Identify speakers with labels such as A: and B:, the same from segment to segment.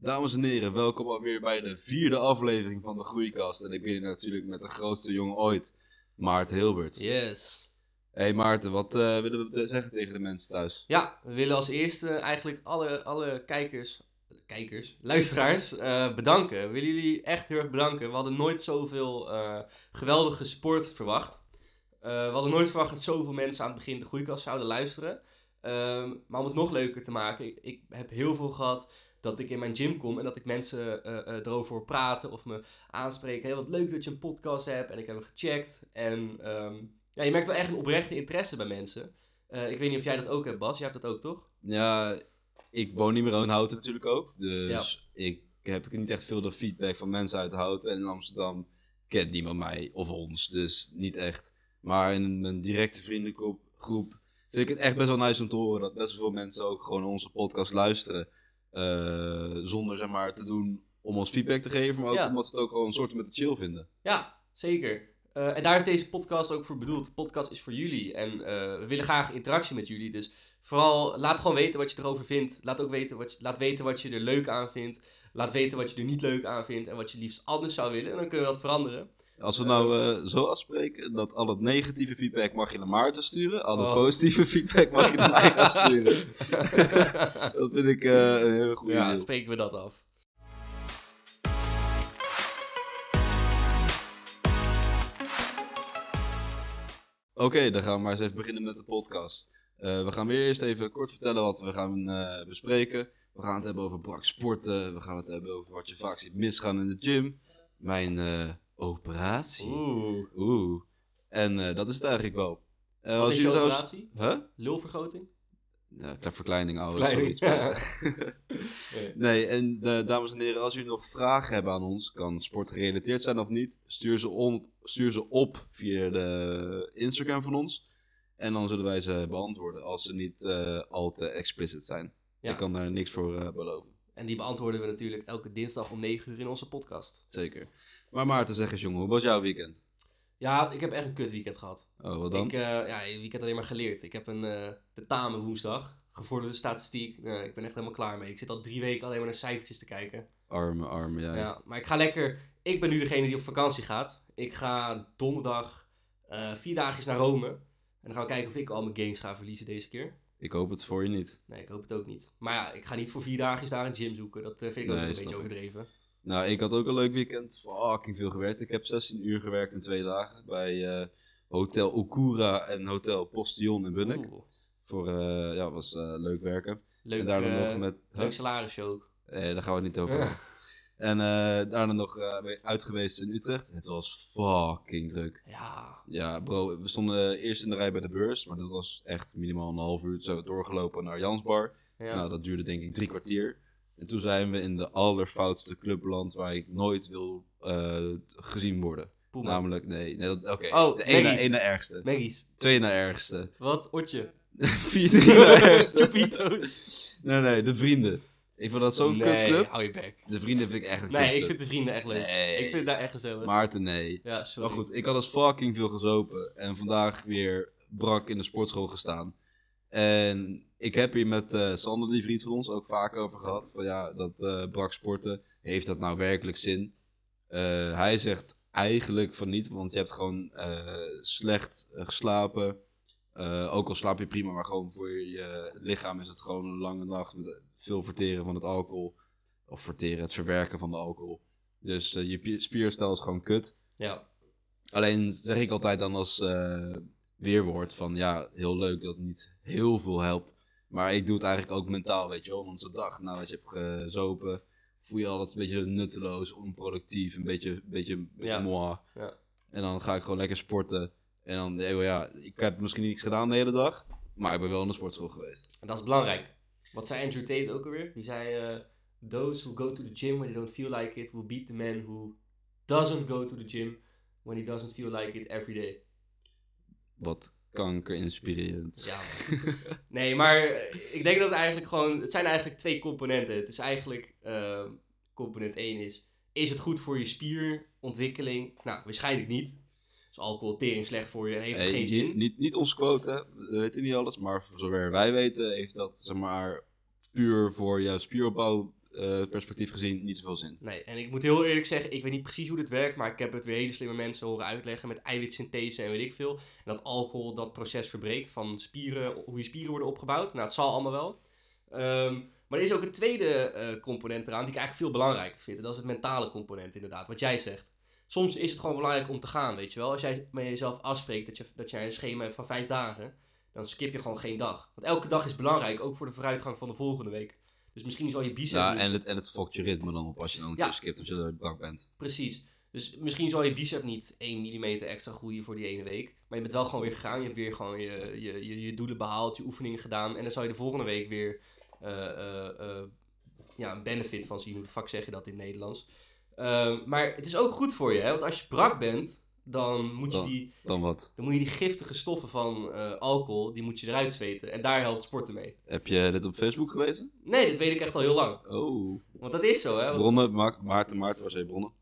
A: Dames en heren, welkom alweer bij de vierde aflevering van de Groeikast. En ik ben hier natuurlijk met de grootste jongen ooit, Maarten Hilbert.
B: Yes.
A: hey Maarten, wat eh, willen we te- zeggen tegen de mensen thuis?
B: Ja, we willen als eerste eigenlijk alle, alle kijkers, kijkers, luisteraars eh, bedanken. We willen jullie echt heel erg bedanken. We hadden nooit zoveel eh, geweldige sport verwacht. Eh, we hadden nooit verwacht dat zoveel mensen aan het begin de groeikast zouden luisteren. Ehm, maar om het nog leuker te maken, ik, ik heb heel veel gehad dat ik in mijn gym kom en dat ik mensen eh, eh, erover hoor praten of me aanspreken. Hé, wat leuk dat je een podcast hebt en ik heb hem gecheckt. En ehm, ja, je merkt wel echt een oprechte interesse bij mensen. Eh, ik weet niet of jij dat ook hebt, Bas. Jij hebt dat ook, toch?
A: Ja, ik woon niet meer in Houten natuurlijk ook. Dus ik heb niet echt veel de feedback van mensen uit Houten. En in Amsterdam kent niemand mij of ons, dus niet echt. Maar in mijn directe vriendengroep groep, vind ik het echt best wel nice om te horen dat best wel veel mensen ook gewoon onze podcast luisteren. eh, zonder zeg maar te doen om ons feedback te geven, maar ook
B: Ja.
A: omdat ze het ook gewoon een soort met de chill vinden.
B: Ja, zeker. Eh, en daar is deze podcast ook voor bedoeld. De podcast is voor jullie en eh, we willen graag interactie met jullie. Dus vooral laat gewoon weten wat je erover vindt. Laat ook weten wat je, laat weten wat je er leuk aan vindt. Laat weten wat je er niet leuk aan vindt en wat je liefst anders zou willen. En dan kunnen we dat veranderen.
A: Als we nou eh, zo afspreken dat al het negatieve feedback mag je naar Maarten sturen, al het
B: Oh.
A: positieve feedback mag je naar mij gaan sturen. Dat vind ik eh, een hele goede
B: ja,
A: ja,
B: dan spreken we dat af.
A: Oké, dan gaan we maar eens even beginnen met de podcast. Eh, we gaan weer eerst even kort vertellen wat we gaan eh, bespreken. We gaan het hebben over brak sporten. We gaan het hebben over wat je vaak ziet misgaan in de gym. Mijn eh, operatie. Oeh.
B: Oeh.
A: En eh, dat is het eigenlijk wel. Eh,
B: Wat is je
A: jullie trouwens-
B: operatie?
A: Huh?
B: Lulvergroting?
A: Ja, kleine verkleining, ouwe.
B: Verkleining,
A: zoiets.
B: Nee.
A: nee, en eh, dames en heren, als jullie nog vragen hebben aan ons, kan sport gerelateerd zijn of niet, stuur ze, on, stuur ze op via de Instagram van ons. En dan zullen wij ze beantwoorden als ze niet eh, al te explicit zijn.
B: Ja.
A: Ik kan daar niks voor eh, beloven,
B: En die beantwoorden we natuurlijk elke dinsdag om 9 uur in onze podcast.
A: zeker. Maar Maarten, zeg eens jongen, hoe was jouw weekend?
B: Ja, ik heb echt een kut weekend gehad.
A: Oh, wat dan?
B: Ik, eh ja, ik heb alleen maar geleerd. Ik heb een eh tentamen woensdag. Gevorderde statistiek. Nou, ik ben echt helemaal klaar mee. Ik zit al drie weken alleen maar naar cijfertjes te kijken.
A: Arme, arme, ja.
B: Ja, maar ik ga lekker. Ik ben nu degene die op vakantie gaat. Ik ga donderdag eh, vier dagjes naar Rome. En dan gaan we kijken of ik al mijn gains ga verliezen deze keer.
A: Ik hoop het voor je niet.
B: Nee, ik hoop het ook niet. Maar ja, ik ga niet voor vier dagjes daar een gym zoeken. Dat eh, vind ik ook
A: Nee,
B: een
A: snap
B: beetje
A: ik.
B: overdreven.
A: Nou, ik had ook een leuk weekend. Fucking veel gewerkt. Ik heb 16 uur gewerkt in twee dagen bij eh, Hotel Okura en Hotel Postillon in Bunnik.
B: Oeh,
A: Voor, eh, ja, was eh, leuk werken.
B: Leuk,
A: en daarna
B: eh,
A: nog met...
B: leuk salarisje ook.
A: Eh, daar gaan we het niet over hebben. En eh, daarna nog eh, ben ik uit geweest in Utrecht. Het was fucking druk.
B: Ja,
A: Ja, bro, we stonden eerst in de rij bij de beurs, maar dat was echt minimaal een half uur. Toen zijn we doorgelopen naar Jansbar.
B: ja.
A: Nou, dat duurde denk ik drie kwartier. En toen zijn we in de allerfoutste clubland waar ik nooit wil eh, gezien worden.
B: Puma.
A: Namelijk, nee, nee dat- oké.
B: Oh,
A: de ene,
B: Maggie's.
A: ene ergste.
B: Maggie's.
A: Twee na ergste.
B: Wat? Otje.
A: Vier, drie na ergste.
B: Stupido's.
A: Nee, nee, de vrienden. Ik vond dat zo'n
B: nee,
A: kutclub.
B: hou je bek.
A: De vrienden vind ik echt een
B: Nee, ik
A: kutclub.
B: vind de vrienden echt leuk.
A: Nee.
B: Ik vind het daar echt gezellig.
A: Maarten, nee.
B: ja,
A: Maar
B: sorry.
A: goed, ik had als fucking veel gezopen. En vandaag weer brak in de sportschool gestaan. En ik heb hier met eh, Sander, die vriend van ons, ook vaak over gehad. Van ja, dat eh, brak sporten, heeft dat nou werkelijk zin? Eh, hij zegt eigenlijk van niet, want je hebt gewoon eh, slecht eh, geslapen. Eh, ook al slaap je prima, maar gewoon voor je lichaam is het gewoon een lange nacht met eh, veel verteren van het alcohol. Of verteren, het verwerken van de alcohol. Dus eh, je pi- spierstel is gewoon kut.
B: Ja.
A: Alleen zeg ik altijd dan als eh, weerwoord van ja, heel leuk dat het niet heel veel helpt. Maar ik doe het eigenlijk ook mentaal, weet je wel. Want zo'n dag nadat je hebt gezopen, voel je je altijd een beetje nutteloos, onproductief, een beetje, een beetje, een beetje
B: Ja.
A: moi.
B: Ja.
A: En dan ga ik gewoon lekker sporten. En dan, eh, ja, ik heb misschien niets gedaan de hele dag, maar ik ben wel in de sportschool geweest.
B: En dat is belangrijk. Wat zei Andrew Tate ook alweer? Die zei, eh, those who go to the gym when they don't feel like it, will beat the man who doesn't go to the gym when he doesn't feel like it every day.
A: Wat kankerinspirerend.
B: Ja. man. nee, maar eh, ik denk dat het eigenlijk gewoon... Het zijn eigenlijk twee componenten. Het is eigenlijk... eh, component 1 is... Is het goed voor je spierontwikkeling? Nou, waarschijnlijk niet. Dus alcohol tering slecht voor je en heeft het
A: Hey,
B: geen
A: niet-
B: zin.
A: Niet, niet ons quote, hè. we weten niet alles, maar voor zover wij weten heeft dat zeg maar puur voor jouw spieropbouw eh, eh, perspectief gezien niet zoveel zin.
B: Nee, en ik moet heel eerlijk zeggen, ik weet niet precies hoe dit werkt, maar ik heb het weer hele slimme mensen horen uitleggen met eiwitsynthese en weet ik veel. En dat alcohol dat proces verbreekt van spieren, hoe je spieren worden opgebouwd. Nou, het zal allemaal wel. Ehm, maar er is ook een tweede eh, component eraan die ik eigenlijk veel belangrijker vind. En dat is het mentale component inderdaad, wat jij zegt. Soms is het gewoon belangrijk om te gaan, weet je wel. Als jij met jezelf afspreekt dat, je, dat jij een schema hebt van vijf dagen, dan skip je gewoon geen dag. Want elke dag is belangrijk, ook voor de vooruitgang van de volgende week. Dus misschien zal je bicep...
A: Ja,
B: niet-
A: en het, en het fokt je ritme dan op als je dan een
B: Ja.
A: keer skipt als je er brak bent.
B: Precies. Dus misschien zal je bicep niet 1 mm extra groeien voor die ene week. Maar je bent wel gewoon weer gegaan. Je hebt weer gewoon je, je, je, je doelen behaald, je oefeningen gedaan. En dan zal je de volgende week weer eh, eh, eh, ja, een benefit van zien. Hoe de fuck zeg je dat in het Nederlands? Ehm, maar het is ook goed voor je, hè? Want als je brak bent, dan moet je
A: Dan-
B: die,
A: Dan wat?
B: dan moet je die giftige stoffen van eh, alcohol, die moet je eruit zweten. En daar helpt sporten mee.
A: Heb je dit op Facebook gelezen?
B: Nee, dit weet ik echt al heel lang.
A: Oh.
B: Want dat is zo, hè? Want
A: Bronnen, Ma Maarten, Maarten, was hij bronnen?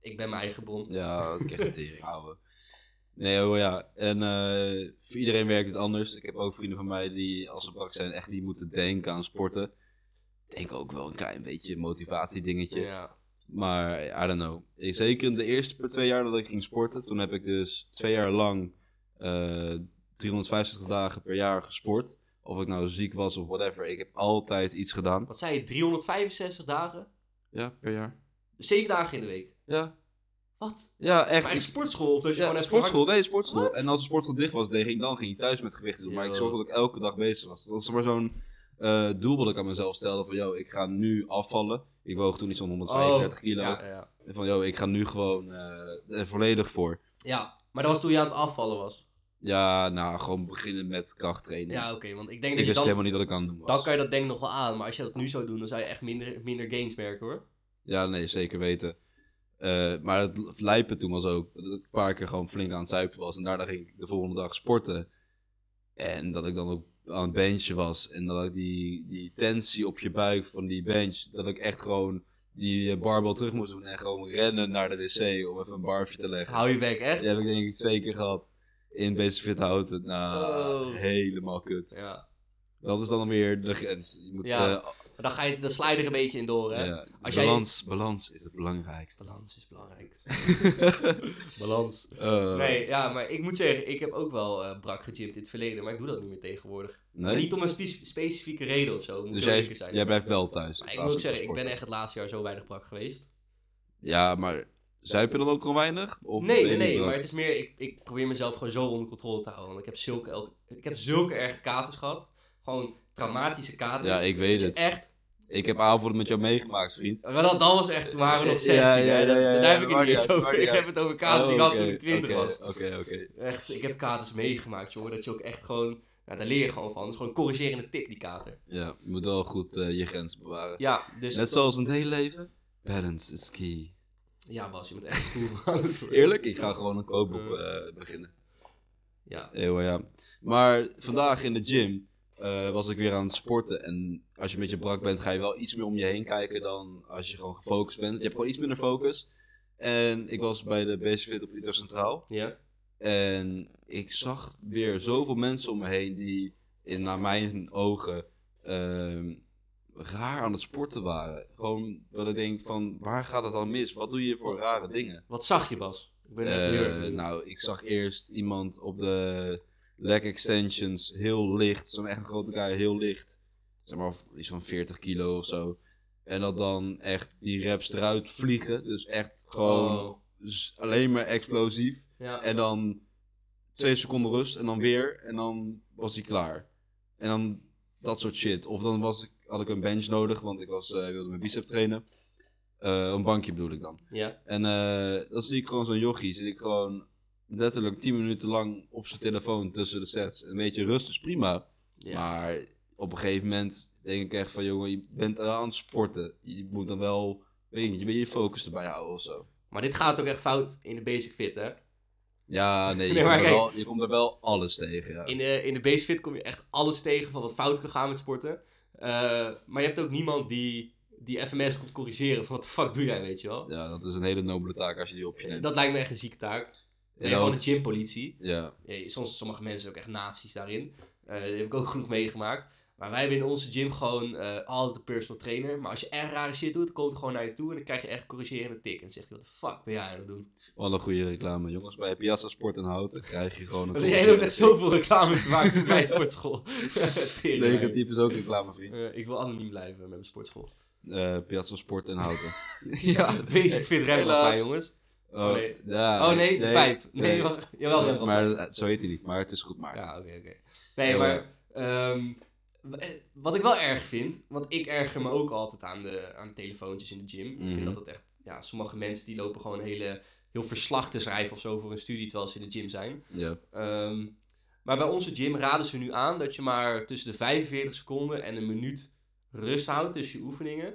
B: ik ben mijn eigen bron.
A: Ja, dat kreeg een tering, ouwe. Nee, oh ja. En eh, voor iedereen werkt het anders. Ik heb ook vrienden van mij die, als ze brak zijn, echt niet moeten denken aan sporten. Ik Denk ook wel een klein beetje motivatiedingetje.
B: Ja.
A: Maar I don't know. Ik- Zeker in de eerste twee jaar dat ik ging sporten. Toen heb ik dus twee jaar lang eh, 365 dagen per jaar gesport. Of ik nou ziek was of whatever. Ik heb altijd iets gedaan.
B: Wat zei je? 365 dagen?
A: Ja, per jaar.
B: Zeven dagen in de week.
A: Ja,
B: Wat?
A: ja echt.
B: Maar
A: Ik-
B: echt sportschool? Of dat je
A: Ja,
B: gewoon
A: een
B: even
A: sportschool. Nee, sportschool.
B: Wat?
A: En als de sportschool dicht was, deed ik, dan ging ik thuis met gewichten doen. Maar ik
B: Yo.
A: zorgde dat ik elke dag bezig was. Dat was maar zo'n eh, doel wat ik aan mezelf stelde. Van, yo, ik ga nu afvallen. Ik woog toen iets van 135
B: Oh,
A: kilo.
B: Ja, ja.
A: En van, yo, ik ga nu gewoon eh, er volledig voor.
B: ja, maar dat was toen je aan het afvallen was.
A: Ja, nou, gewoon beginnen met krachttraining.
B: Ja, oké, want ik denk
A: ik
B: dat
A: wist
B: je dan,
A: helemaal niet wat ik aan het doen was.
B: dan kan je dat denk ik nog wel aan. Maar als je dat nu zou doen, dan zou je echt minder, minder gains merken hoor.
A: Ja, nee, zeker weten. Eh, maar het lijpen toen was ook dat ik een paar keer gewoon flink aan het zuipen was. En daarna ging ik de volgende dag sporten. En dat ik dan ook aan het benchen was. En dat ik die, die tensie op je buik van die bench, dat ik echt gewoon die eh, barbel terug moest doen. En gewoon rennen naar de wc om even een barfje te leggen.
B: Hou je bek, echt?
A: Die heb ik denk ik twee keer gehad. In Basic Fit Houten. Nou,
B: Oh.
A: helemaal kut.
B: Ja.
A: Dat is dan weer de grens. Je moet,
B: Ja,
A: eh,
B: Maar dan, ga je, dan sla je er een beetje in door hè.
A: ja,
B: Als jij-
A: balans, balans is het belangrijkste.
B: Balans is belangrijk. Balans.
A: Eh,
B: Nee, ja, maar ik moet zeggen, ik heb ook wel eh, brak gegymd in het verleden, maar ik doe dat niet meer tegenwoordig.
A: nee?
B: Niet om een spe- specifieke reden of zo. Moet
A: Dus
B: heel
A: jij,
B: eerlijk zijn.
A: jij blijft wel thuis.
B: Maar
A: in
B: ik moet
A: plaats
B: ook
A: van te
B: zeggen, ik ben
A: sporten.
B: echt het laatste jaar zo weinig brak geweest.
A: Ja, maar zuip je dan ook gewoon weinig? Of
B: nee,
A: ben
B: nee,
A: je niet
B: nee,
A: brak?
B: maar het is meer, ik, ik probeer mezelf gewoon zo onder controle te houden. Want ik heb zulke, el- ik heb zulke erge katers gehad. Gewoon traumatische katers.
A: Ja, ik weet
B: Dat je
A: het.
B: Echt,
A: Ik heb avonden met jou meegemaakt, vriend.
B: maar dat, dat was echt, toen waren we nog
A: Ja,
B: 16.
A: ja,
B: hè.
A: ja,
B: Dat-
A: ja, ja,
B: Daar heb ik
A: maakt
B: het
A: niet uit,
B: niet eens
A: maakt
B: over.
A: niet
B: Ik
A: uit.
B: heb het over katers die ik
A: Oh,
B: had toen
A: oké,
B: ik 20
A: oké,
B: was.
A: Oké, oké.
B: Echt, ik heb katers meegemaakt, jongen. Dat je ook echt gewoon, nou, daar leer je gewoon van. Dat is gewoon een corrigerende tik, die kater.
A: Ja, je moet wel goed eh, je grens bewaren.
B: Ja, dus...
A: Net zoals in het hele leven. Balance is key.
B: Ja, Bas, je bent echt cool aan het worden.
A: Eerlijk, ik ga gewoon een kookboek eh, beginnen.
B: Ja,
A: Eeuw, ja. Maar vandaag in de gym eh, was ik weer aan het sporten. En als je een beetje brak bent, ga je wel iets meer om je heen kijken dan als je gewoon gefocust bent. Je hebt gewoon iets minder focus. En ik was bij de Basic Fit op Utrecht Centraal.
B: ja.
A: En ik zag weer zoveel mensen om me heen die, in, naar mijn ogen, ehm, raar aan het sporten waren. Gewoon dat ik denk van, waar gaat het dan mis? Wat doe je voor rare dingen?
B: Wat zag je, Bas? Ik ben echt heel erg
A: Eh,
B: benieuwd.
A: nou, ik zag eerst iemand op de leg extensions heel licht. Zo'n echt een grote guy, heel licht. Zeg maar iets van 40 kilo of zo. En dat dan echt die reps eruit vliegen. Dus echt gewoon
B: Oh,
A: s- alleen maar explosief.
B: ja.
A: En dan twee seconden rust en dan weer. En dan was hij klaar. En dan dat soort shit. Of dan was ik, had ik een bench nodig, want ik was, eh, wilde mijn bicep trainen. Eh, een bankje bedoel ik dan.
B: ja.
A: En eh, dan zie ik gewoon zo'n jochie. Zit ik gewoon letterlijk 10 minuten lang op zijn telefoon tussen de sets. Een beetje rust is prima.
B: Ja.
A: Maar op een gegeven moment denk ik echt van... jongen, je bent aan het sporten. Je moet dan wel... Weet ik niet, je moet je focus erbij houden of zo.
B: Maar dit gaat ook echt fout in de basic fit, hè?
A: Ja, nee, je,
B: Nee, maar
A: komt, er
B: kijk.
A: wel, je komt er wel alles tegen. Ja.
B: In de, in de basic fit kom je echt alles tegen van wat fout kan gaan met sporten. Eh, maar je hebt ook niemand die, die FMS komt corrigeren van wat de fuck doe jij, weet je wel?
A: ja, dat is een hele nobele taak als je die op je neemt.
B: Dat lijkt me echt een zieke taak.
A: En
B: En gewoon
A: ook-
B: de gympolitie.
A: ja,
B: Eh, Soms sommige mensen ook echt nazi's daarin. Eh dat heb ik ook genoeg meegemaakt. Maar wij hebben in onze gym gewoon eh, altijd een personal trainer. Maar als je echt rare shit doet, dan komt het gewoon naar je toe. En dan krijg je echt corrigerende tik. En dan zegt hij, wat de fuck ben jij aan het doen?
A: Wat een goede reclame, jongens. Bij Piazza Sport en Houten krijg je gewoon een...
B: Jij hebt echt zoveel reclame gemaakt voor mijn sportschool. Tering, man.
A: Negatief is ook reclame, vriend.
B: Eh, ik wil anoniem blijven met mijn sportschool.
A: Eh, Piazza Sport en Houten. ja.
B: Basic fit remmen
A: Helaas.
B: bij jongens.
A: Oh,
B: nee.
A: ja,
B: Oh nee, de pijp. Nee,
A: nee.
B: wacht. Jawel,
A: Zo-
B: remmen.
A: maar eh, zo heet hij niet, maar het is goed Maarten.
B: Ja, oké, oké. Nee,
A: Ja,
B: maar ehm, w- eh, wat ik wel erg vind, want ik erger me ook altijd aan de, aan de telefoontjes in de gym. Ik
A: Mhm.
B: vind dat dat echt, ja, sommige mensen die lopen gewoon hele, heel verslag te schrijven of zo voor hun studie terwijl ze in de gym zijn.
A: Ja.
B: Ehm, maar bij onze gym raden ze nu aan dat je maar tussen de 45 seconden en een minuut rust houdt tussen je oefeningen.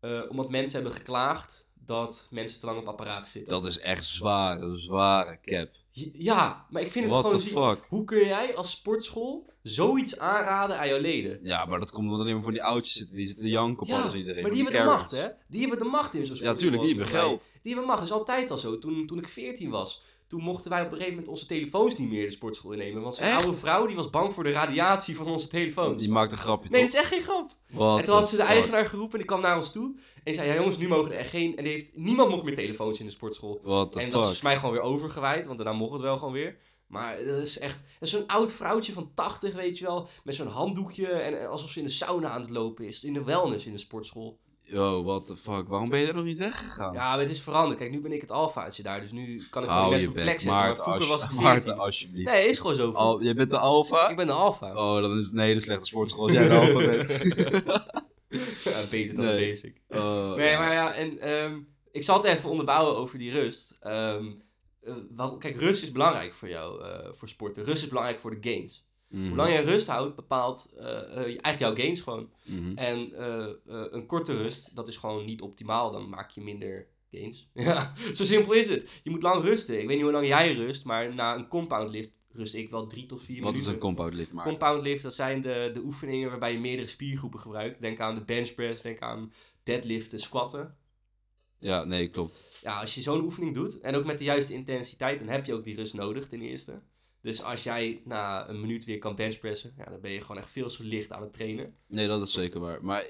B: Eh, omdat mensen hebben geklaagd dat mensen te lang op apparaten zitten.
A: Dat is echt zwaar, dat is een zware cap.
B: Ja, maar ik vind het
A: What the
B: gewoon... zie-
A: fuck?
B: Hoe kun jij als sportschool zoiets aanraden aan jouw leden?
A: Ja, maar dat komt omdat alleen maar voor die oudjes zitten. Die zitten te janken op
B: Ja,
A: alles en iedereen.
B: maar die
A: op
B: hebben de macht,
A: carrots.
B: hè? Die hebben de macht in zo'n
A: Ja,
B: sportschool.
A: tuurlijk, die hebben geld.
B: Die hebben macht. Dat is altijd al zo. Toen, toen ik 14 was, toen mochten wij op een gegeven moment onze telefoons niet meer de sportschool innemen. Want zo'n
A: Echt?
B: oude vrouw die was bang voor de radiatie van onze telefoons.
A: Die maakt een grapje,
B: Nee, dat
A: toch?
B: is echt geen grap.
A: What
B: en toen had
A: the
B: ze de
A: fuck?
B: eigenaar geroepen en die kwam naar ons toe. En die zei, ja jongens, nu mogen er echt geen... En die heeft, niemand mocht meer telefoons in de sportschool.
A: What the
B: en dat is
A: fuck?
B: volgens mij gewoon weer overgewaaid, want daarna mocht het wel gewoon weer. Maar dat is echt dat is zo'n oud vrouwtje van 80, weet je wel, met zo'n handdoekje en en alsof ze in de sauna aan het lopen is. In de wellness, in de sportschool.
A: Yo, what the fuck? Waarom ben je daar nog niet weggegaan?
B: Ja, maar het is veranderd. Kijk, nu ben ik het alfaatje daar, dus nu kan ik gewoon
A: Hou
B: best
A: je
B: op de plek
A: bek,
B: zitten. Maar
A: Maarten,
B: vroeger was
A: als,
B: het
A: Maarten
B: 14.
A: alsjeblieft.
B: Nee, is gewoon zo.
A: Al, jij bent de alfa?
B: Ik ben de alfa.
A: Oh, dan is het een hele slechte sportschool als jij de alfa bent.
B: Ja, beter dan
A: Nee.
B: basic.
A: Oh,
B: Nee,
A: ja.
B: maar ja, en ehm, ik zal het even onderbouwen over die rust. Ehm, eh, waarom- kijk, rust is belangrijk voor jou, eh, voor sporten. Rust is belangrijk voor de gains.
A: Mhm,
B: Hoe lang jij rust houdt, bepaalt eh, eh, eigenlijk jouw gains gewoon.
A: mhm.
B: En eh, eh, een korte rust, dat is gewoon niet optimaal. Dan maak je minder gains. ja, zo simpel is het. Je moet lang rusten. Ik weet niet hoe lang jij rust, maar na een compound lift rust ik wel drie tot vier
A: Wat is
B: minuten.
A: een compound lift, Maarten?
B: compound lift, dat zijn de, de oefeningen waarbij je meerdere spiergroepen gebruikt. Denk aan de bench press, denk aan deadliften, squatten.
A: Ja, nee, klopt.
B: Ja, als je zo'n oefening doet, en ook met de juiste intensiteit, dan heb je ook die rust nodig ten eerste. Dus als jij na een minuut weer kan benchpressen, ja, dan ben je gewoon echt veel zo licht aan het trainen.
A: Nee, dat is zeker waar. Maar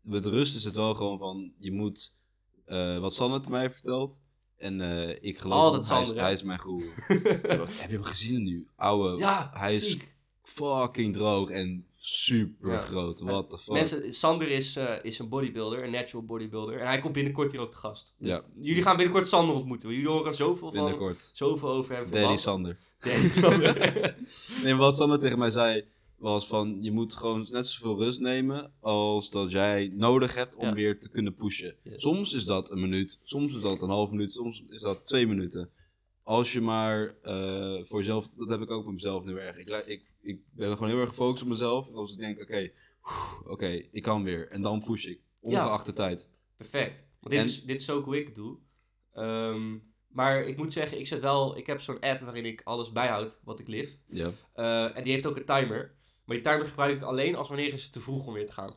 A: met rust is het wel gewoon van, je moet, eh, wat Sanne het mij vertelt, en eh, ik geloof
B: Altijd
A: hem, hij, is,
B: Sander, hè?
A: hij is mijn goeroe. Heb je hem gezien nu? Oude,
B: ja,
A: hij is
B: ziek.
A: fucking droog en super
B: Ja.
A: groot. What the fuck?
B: Mensen, Sander is, eh, is een bodybuilder, een natural bodybuilder. En hij komt binnenkort hier ook te gast. Dus
A: Ja.
B: Jullie gaan binnenkort Sander ontmoeten. want Jullie horen zoveel, van,
A: Binnenkort.
B: zoveel over hem.
A: Daddy
B: verbaasd.
A: Sander.
B: Daddy Sander.
A: Nee, maar wat Sander tegen mij zei was van je moet gewoon net zoveel rust nemen als dat jij nodig hebt om
B: Ja.
A: weer te kunnen pushen.
B: Yes.
A: Soms is dat een minuut, soms is dat een half minuut, soms is dat twee minuten. Als je maar eh, voor jezelf, dat heb ik ook met mezelf nu erg. Ik, li- ik, ik ben gewoon heel erg gefocust op mezelf. En als ik denk, oké, oeh, oké, ik kan weer. En dan push ik,
B: Ja.
A: ongeacht de tijd.
B: Perfect. Want dit,
A: En-
B: is, dit is ook hoe ik het doe. Ehm, maar ik moet zeggen, ik, zet wel, ik heb zo'n app waarin ik alles bijhoud wat ik lift.
A: Ja.
B: Eh, en die heeft ook een timer. Maar die timer gebruik ik alleen als wanneer is het te vroeg om weer te gaan.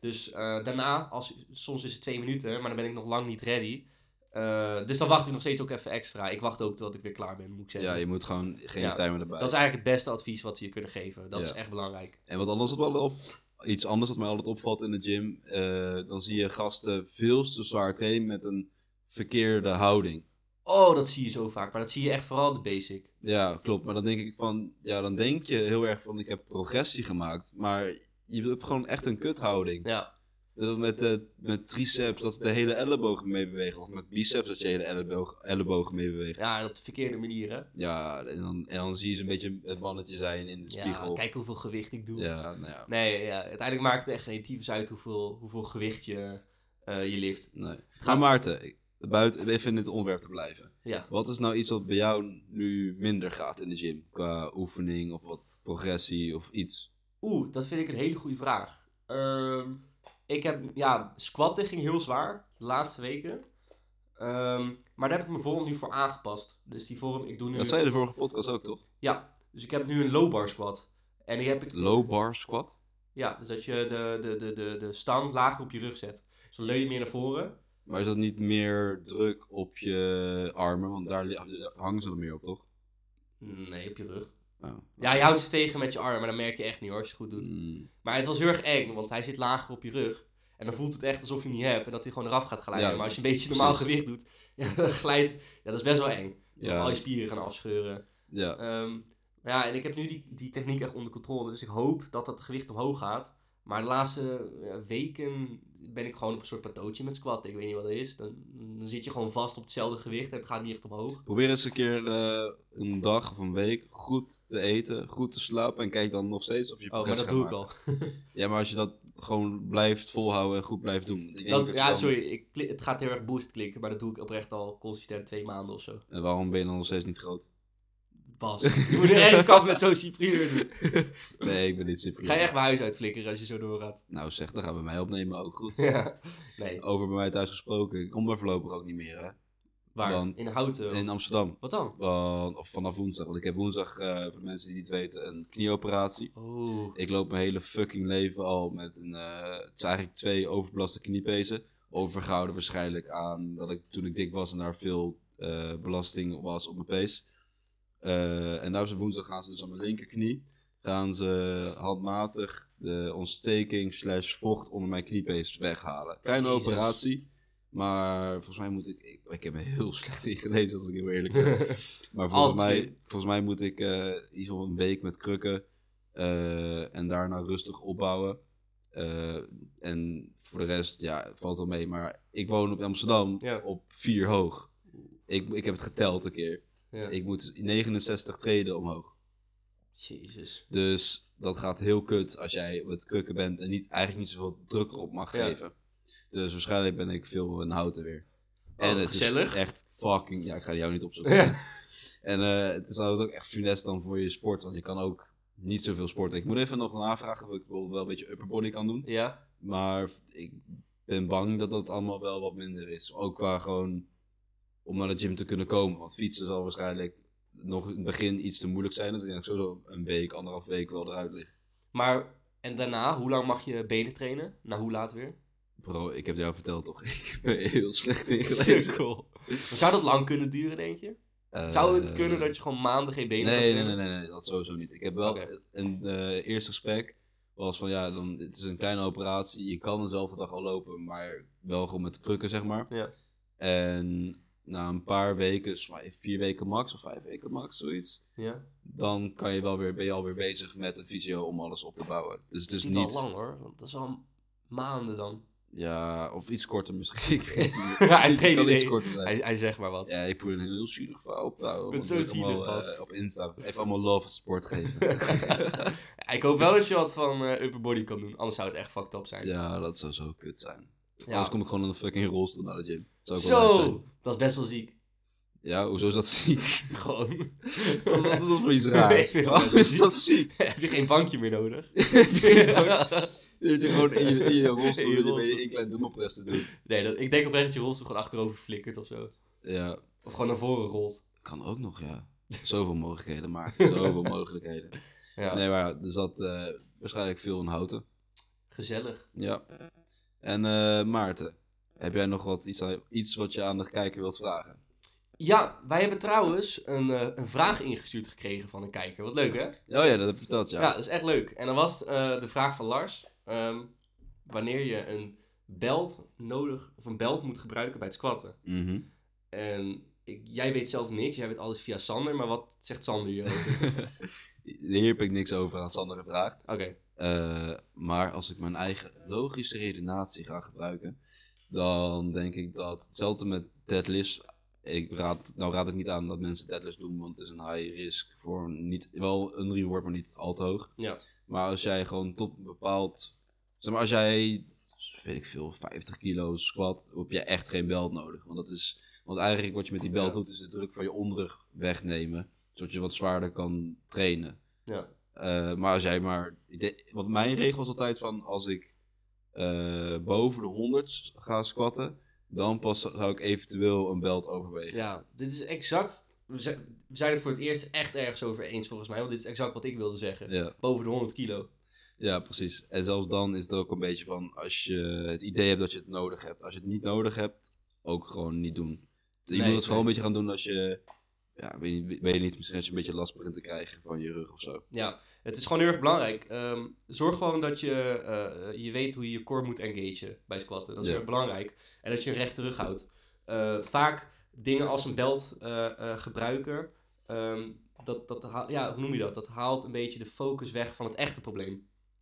B: Dus eh, daarna, als, soms is het twee minuten, maar dan ben ik nog lang niet ready. Eh, dus dan wacht ik nog steeds ook even extra. Ik wacht ook totdat ik weer klaar ben, moet ik zeggen.
A: ja, je moet gewoon geen
B: Ja.
A: timer erbij.
B: Dat is eigenlijk het beste advies wat ze je kunnen geven. Dat
A: Ja.
B: is echt belangrijk.
A: En wat anders wat me altijd op, iets anders wat mij altijd opvalt in de gym, eh, dan zie je gasten veel te zwaar trainen met een verkeerde houding.
B: Oh, dat zie je zo vaak. Maar dat zie je echt vooral op de basic.
A: Ja, klopt. Maar dan denk ik van, ja, dan denk je heel erg van, ik heb progressie gemaakt, maar je hebt gewoon echt een kuthouding.
B: Ja,
A: Eh, Met, eh, met triceps dat de hele ellebogen mee bewegen, of met biceps dat je hele elleboog, ellebogen mee beweegt. Ja,
B: ja en op de verkeerde manier, hè.
A: en, dan, en dan zie je ze een beetje het mannetje zijn in de
B: Ja,
A: spiegel.
B: kijk hoeveel gewicht ik doe.
A: Ja, nou ja,
B: Nee, ja, uiteindelijk maakt het echt geen tyfus uit hoeveel, hoeveel gewicht je, eh, je lift.
A: nee. Maar Maarten, ik- buiten, even in dit onderwerp te blijven.
B: Ja.
A: Wat is nou iets wat bij jou nu minder gaat in de gym? Qua oefening of wat progressie of iets?
B: Oeh, dat vind ik een hele goede vraag. Ehm, ik heb, ja, squatten ging heel zwaar de laatste weken. Ehm, maar daar heb ik mijn vorm nu voor aangepast. Dus die vorm, ik doe nu...
A: Dat zei je de vorige podcast ook, toch?
B: Ja, dus ik heb nu een low bar squat. En die heb ik...
A: Low bar squat?
B: Ja, dus dat je de, de, de, de, de stang lager op je rug zet. Dus dan leun je meer naar voren.
A: Maar is dat niet meer druk op je armen? Want daar li- hangen ze er meer op, toch?
B: Nee, op je rug.
A: Oh.
B: Ja, je houdt ze tegen met je arm, maar dan merk je echt niet hoor, als je het goed doet.
A: Mm.
B: Maar het was heel erg eng, want hij zit lager op je rug. En dan voelt het echt alsof je hem niet hebt en dat hij gewoon eraf gaat glijden.
A: Ja,
B: maar als je een beetje normaal
A: precies.
B: gewicht doet, ja, dan glijdt... Ja, dat is best wel eng.
A: Ja.
B: Al je spieren gaan afscheuren.
A: Ja.
B: Ehm, maar ja, en ik heb nu die, die techniek echt onder controle. Dus ik hoop dat dat gewicht omhoog gaat. Maar de laatste eh, weken ben ik gewoon op een soort plateautje met squat. Ik weet niet wat het is. Dan, dan zit je gewoon vast op hetzelfde gewicht en het gaat niet echt omhoog.
A: Probeer eens een keer eh, een dag of een week goed te eten, goed te slapen en kijk dan nog steeds of je
B: Oh, maar
A: progress
B: dat
A: gaat
B: doe ik
A: maken.
B: al.
A: Ja, maar als je dat gewoon blijft volhouden en goed blijft doen. Ik denk
B: Dat-
A: je
B: ja,
A: dan-
B: sorry. Ik, kli- het gaat heel erg boost klikken, maar dat doe ik oprecht al consistent twee maanden of zo.
A: En waarom ben je dan nog steeds niet groot?
B: Bas, je moet er echt kap met zo'n cyprieur doen.
A: Nee, ik ben niet super.
B: Ga je echt mijn huis uitflikkeren als je zo doorgaat.
A: Nou zeg, dan gaan we mij opnemen ook goed.
B: Ja. Nee,
A: Over bij mij thuis gesproken, ik kom daar voorlopig ook niet meer hè.
B: waar?
A: Dan-
B: In houten?
A: In Amsterdam.
B: Wat dan?
A: Want- of vanaf woensdag, want ik heb woensdag, eh, voor de mensen die het niet weten, een knieoperatie.
B: Oh,
A: Ik loop mijn hele fucking leven al met een. eh, het zijn eigenlijk twee overbelaste kniepezen. Overgehouden waarschijnlijk aan dat ik toen ik dik was en daar veel eh, belasting was op mijn pees. Eh, en nou op woensdag gaan ze dus aan mijn linkerknie. Gaan ze handmatig de ontsteking slash vocht onder mijn kniepees weghalen. Kleine
B: Jezus.
A: operatie. Maar volgens mij moet ik, ik... Ik heb me heel slecht ingelezen als ik heel eerlijk ben. Maar volgens
B: Altijd.
A: mij, volgens mij moet ik eh iets van een week met krukken eh, en daarna rustig opbouwen. Eh, en voor de rest, ja, valt wel mee. Maar ik woon op Amsterdam
B: Ja.
A: op vier hoog. Ik, ik heb het geteld een keer.
B: ja.
A: Ik moet 69 treden omhoog.
B: Jezus.
A: Dus dat gaat heel kut als jij met krukken bent en niet, eigenlijk niet zoveel druk erop mag
B: Ja.
A: geven. Dus waarschijnlijk ben ik veel in houten weer.
B: Oh,
A: en het
B: gezellig.
A: is echt fucking... Ja, ik ga jou niet opzoeken.
B: Ja.
A: En eh, het is trouwens ook echt funest dan voor je sport, want je kan ook niet zoveel sporten. Ik moet even nog navragen of ik bijvoorbeeld wel een beetje upper body kan doen.
B: Ja,
A: Maar ik ben bang dat dat allemaal wel wat minder is. Ook qua gewoon om naar de gym te kunnen komen. Want fietsen zal waarschijnlijk nog in het begin iets te moeilijk zijn. Dus ik denk dat ik sowieso een week, anderhalf week wel eruit lig.
B: maar en daarna, hoe lang mag je benen trainen? Na hoe laat weer?
A: Bro, ik heb jou verteld toch, ik ben heel slecht ingelezen.
B: Sukkel. Maar Zou dat lang kunnen duren, denk je? Zou
A: Eh,
B: het kunnen dat je gewoon maanden geen benen
A: Nee,
B: kan
A: nee, nee,
B: trainen?
A: nee, nee, dat sowieso niet. Ik heb wel
B: Oké.
A: een eh, eerste gesprek was van ja, dan, het is een kleine operatie. Je kan dezelfde dag al lopen, maar wel gewoon met krukken, zeg maar.
B: Ja.
A: En na een paar weken, volgens mij vier weken max of vijf weken max, zoiets.
B: Ja.
A: Dan kan je wel weer, ben je alweer bezig met de fysio om alles op te bouwen. Dus het is
B: niet al
A: niet.
B: lang hoor, want dat is al maanden dan.
A: Ja, of iets korter misschien. Ik weet het niet. Het
B: Ja, hij
A: kan
B: geen
A: iets
B: idee.
A: korter zijn.
B: Hij, hij zegt maar wat.
A: Ja, ik probeer een heel zielig verhaal op te houden.
B: Het is
A: want
B: zo
A: ik wil allemaal,
B: zielig, Bas.
A: eh, op Insta. Even allemaal love en support geven.
B: ik hoop wel dat je wat van eh, upper body kan doen, anders zou het echt fucked up zijn.
A: ja, dat zou zo kut zijn.
B: Ja.
A: Anders kom ik gewoon in een fucking rolstoel naar de gym. Dat zou ook wel lijp zijn.
B: Zo, dat is best wel ziek.
A: Ja, hoezo is dat ziek?
B: Gewoon.
A: Wat is dat voor iets
B: Ik
A: raars?
B: vind het
A: Waarom
B: wel
A: is dat ziek?
B: Heb je geen bankje meer nodig?
A: Dat je gewoon in je, in je rolstoel
B: In je
A: je benen
B: rolstoel.
A: één klein dumbbellpress te doen.
B: Nee, dat, ik denk oprecht dat je rolstoel gewoon achterover flikkert of zo.
A: Ja,
B: Of gewoon naar voren rolt.
A: kan ook nog, ja. Zoveel mogelijkheden, Maarten. Zoveel mogelijkheden.
B: Ja,
A: Nee, maar ja, er zat eh, waarschijnlijk veel in houten.
B: gezellig.
A: Ja. En eh, Maarten, heb jij nog wat, iets, aan- iets wat je aan de kijker wilt vragen?
B: Ja, wij hebben trouwens een, eh, een vraag ingestuurd gekregen van een kijker. Wat leuk, hè? Ja,
A: Oh ja, dat heb je verteld, ja.
B: dat is echt leuk. En dan was eh, de vraag van Lars. ehm, wanneer je een belt nodig, of een belt moet gebruiken bij het squatten.
A: Mhm.
B: En ik, jij weet zelf niks, jij weet alles via Sander, maar wat zegt Sander hierover?
A: Hier heb ik niks over aan Sander gevraagd.
B: Oké,
A: Eh, maar als ik mijn eigen logische redenatie ga gebruiken, dan denk ik dat hetzelfde met deadlifts. Ik raad, nou raad ik niet aan dat mensen deadlifts doen, want het is een high risk voor niet, wel een reward, maar niet al te hoog.
B: Ja.
A: Maar als jij gewoon tot een bepaald, zeg maar als jij, weet ik veel, 50 kilo squat, heb je echt geen belt nodig. Want dat is, want eigenlijk wat je met die belt
B: Ja.
A: doet, is de druk van je onderrug wegnemen, zodat je wat zwaarder kan trainen.
B: ja.
A: Eh, maar als jij maar. ik denk- Want mijn regel is altijd van als ik eh, boven de 100 ga squatten, dan pas zou ik eventueel een belt overwegen.
B: ja, dit is exact... We zijn we zijn het voor het eerst echt ergens over eens, volgens mij. Want dit is exact wat ik wilde zeggen.
A: Ja,
B: Boven de 100 kilo.
A: ja, precies. En zelfs dan is het ook een beetje van als je het idee hebt dat je het nodig hebt. Als je het niet nodig hebt, ook gewoon niet doen. je
B: Nee,
A: moet het vooral
B: nee.
A: een beetje gaan doen als je ja, weet, je, weet je niet, misschien als je een beetje last begint te krijgen van je rug of zo.
B: Ja, het is gewoon heel erg belangrijk. Ehm, zorg gewoon dat je, eh, je weet hoe je je core moet engagen bij squatten. Dat is
A: Ja.
B: heel erg belangrijk. En dat je een rechte rug houdt. Eh, vaak dingen als een belt eh, eh, gebruiken, ehm, dat, dat haal- ja, hoe noem je dat? Dat haalt een beetje de focus weg van het echte probleem.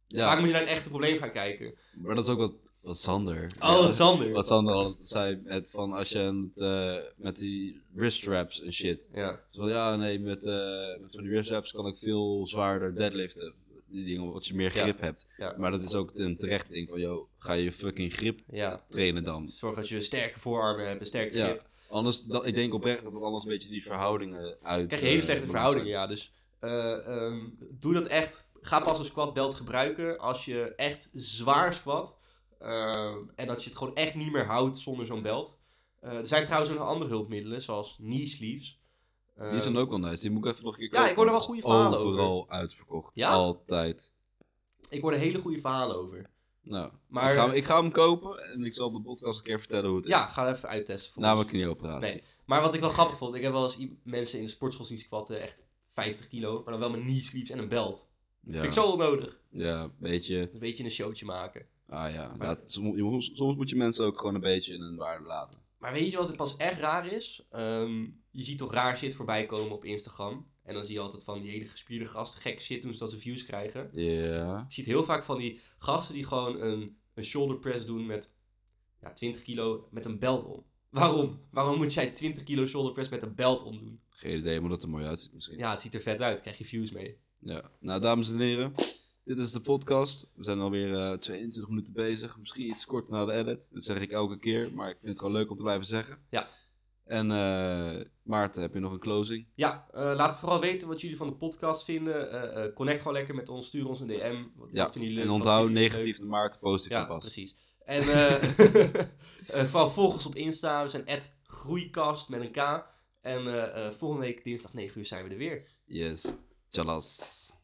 B: Vaak
A: Ja,
B: moet je naar het echte probleem gaan kijken.
A: maar dat is ook wat, wat Sander.
B: Oh,
A: ja,
B: Sander.
A: Wat Sander altijd zei, het van als je aan het, eh, met die wrist wraps en shit.
B: Ja,
A: Dus van, ja, nee, met, eh met van die wrist wraps kan ik veel zwaarder deadliften. Die dingen, omdat je meer
B: Ja.
A: grip hebt.
B: Ja.
A: Maar dat is ook een terecht ding van, joh, ga je fucking grip
B: ja.
A: trainen dan.
B: Zorg dat je sterke voorarmen hebt, een sterke
A: Ja.
B: grip.
A: Anders, dat, ik denk oprecht dat het anders een beetje die verhoudingen uit...
B: krijg je hele
A: eh,
B: slechte
A: balans
B: verhoudingen,
A: zijn.
B: ja. Dus eh, ehm, doe dat echt. Ga pas een squat belt gebruiken als je echt zwaar squat. ehm, en dat je het gewoon echt niet meer houdt zonder zo'n belt. Eh, er zijn trouwens ook nog andere hulpmiddelen, zoals knee sleeves. Eh,
A: Die zijn ook wel nice, die moet ik even nog een keer
B: Ja, ik hoor er wel
A: want
B: goede
A: het is
B: verhalen over.
A: Overal uitverkocht,
B: Ja?
A: altijd.
B: Ik hoor er hele goede verhalen over.
A: Nou,
B: Maar-
A: ik, ga, hem- ik ga hem kopen en ik zal op de podcast een keer vertellen hoe het is.
B: Ja, ga even uittesten. voor
A: Namelijk
B: ons.
A: knieoperatie.
B: Nee. Maar wat ik wel grappig vond, ik heb wel eens i- mensen in de sportschool zien squatten, echt 50 kilo, maar dan wel met knee sleeves en een belt.
A: Ja,
B: Vind ik zo onnodig.
A: ja, weet je.
B: Een beetje een showtje maken.
A: Ah ja, dat, soms, je- soms moet je mensen ook gewoon een beetje in hun waarde laten.
B: Maar weet je wat het pas echt raar is? Ehm, je ziet toch raar shit voorbij komen op Instagram. En dan zie je altijd van die hele gespierde gasten gek shit doen zodat ze views krijgen.
A: Ja,
B: Je ziet heel vaak van die gasten die gewoon een, een shoulder press doen met ja, 20 kilo met een belt om. Waarom? Waarom moet jij 20 kilo shoulder press met een belt om doen?
A: geen idee, maar dat er mooi uitziet misschien. Ja.
B: Ja, het ziet er vet uit. Krijg je views mee.
A: Nou, dames en heren, dit is de podcast. We zijn alweer eh 22 minuten bezig. Misschien iets kort na de edit. Dat zeg ik elke keer, maar ik vind het gewoon leuk om te blijven zeggen.
B: Ja.
A: En eh, Maarten, heb je nog een closing?
B: Ja, eh, laat vooral weten wat jullie van de podcast vinden. Eh, eh, connect gewoon lekker met ons. Stuur ons een DM. Wat,
A: Ja,
B: wat vinden jullie leuk?
A: en
B: wat
A: onthoud
B: vinden jullie leuk?
A: negatief de Maarten, positief
B: Ja,
A: de Bas.
B: precies. En eh eh, vooral volg ons op Insta. We zijn groeikast met een K. En eh, eh, volgende week dinsdag 9 uur zijn we er weer.
A: Yes. Tjallas.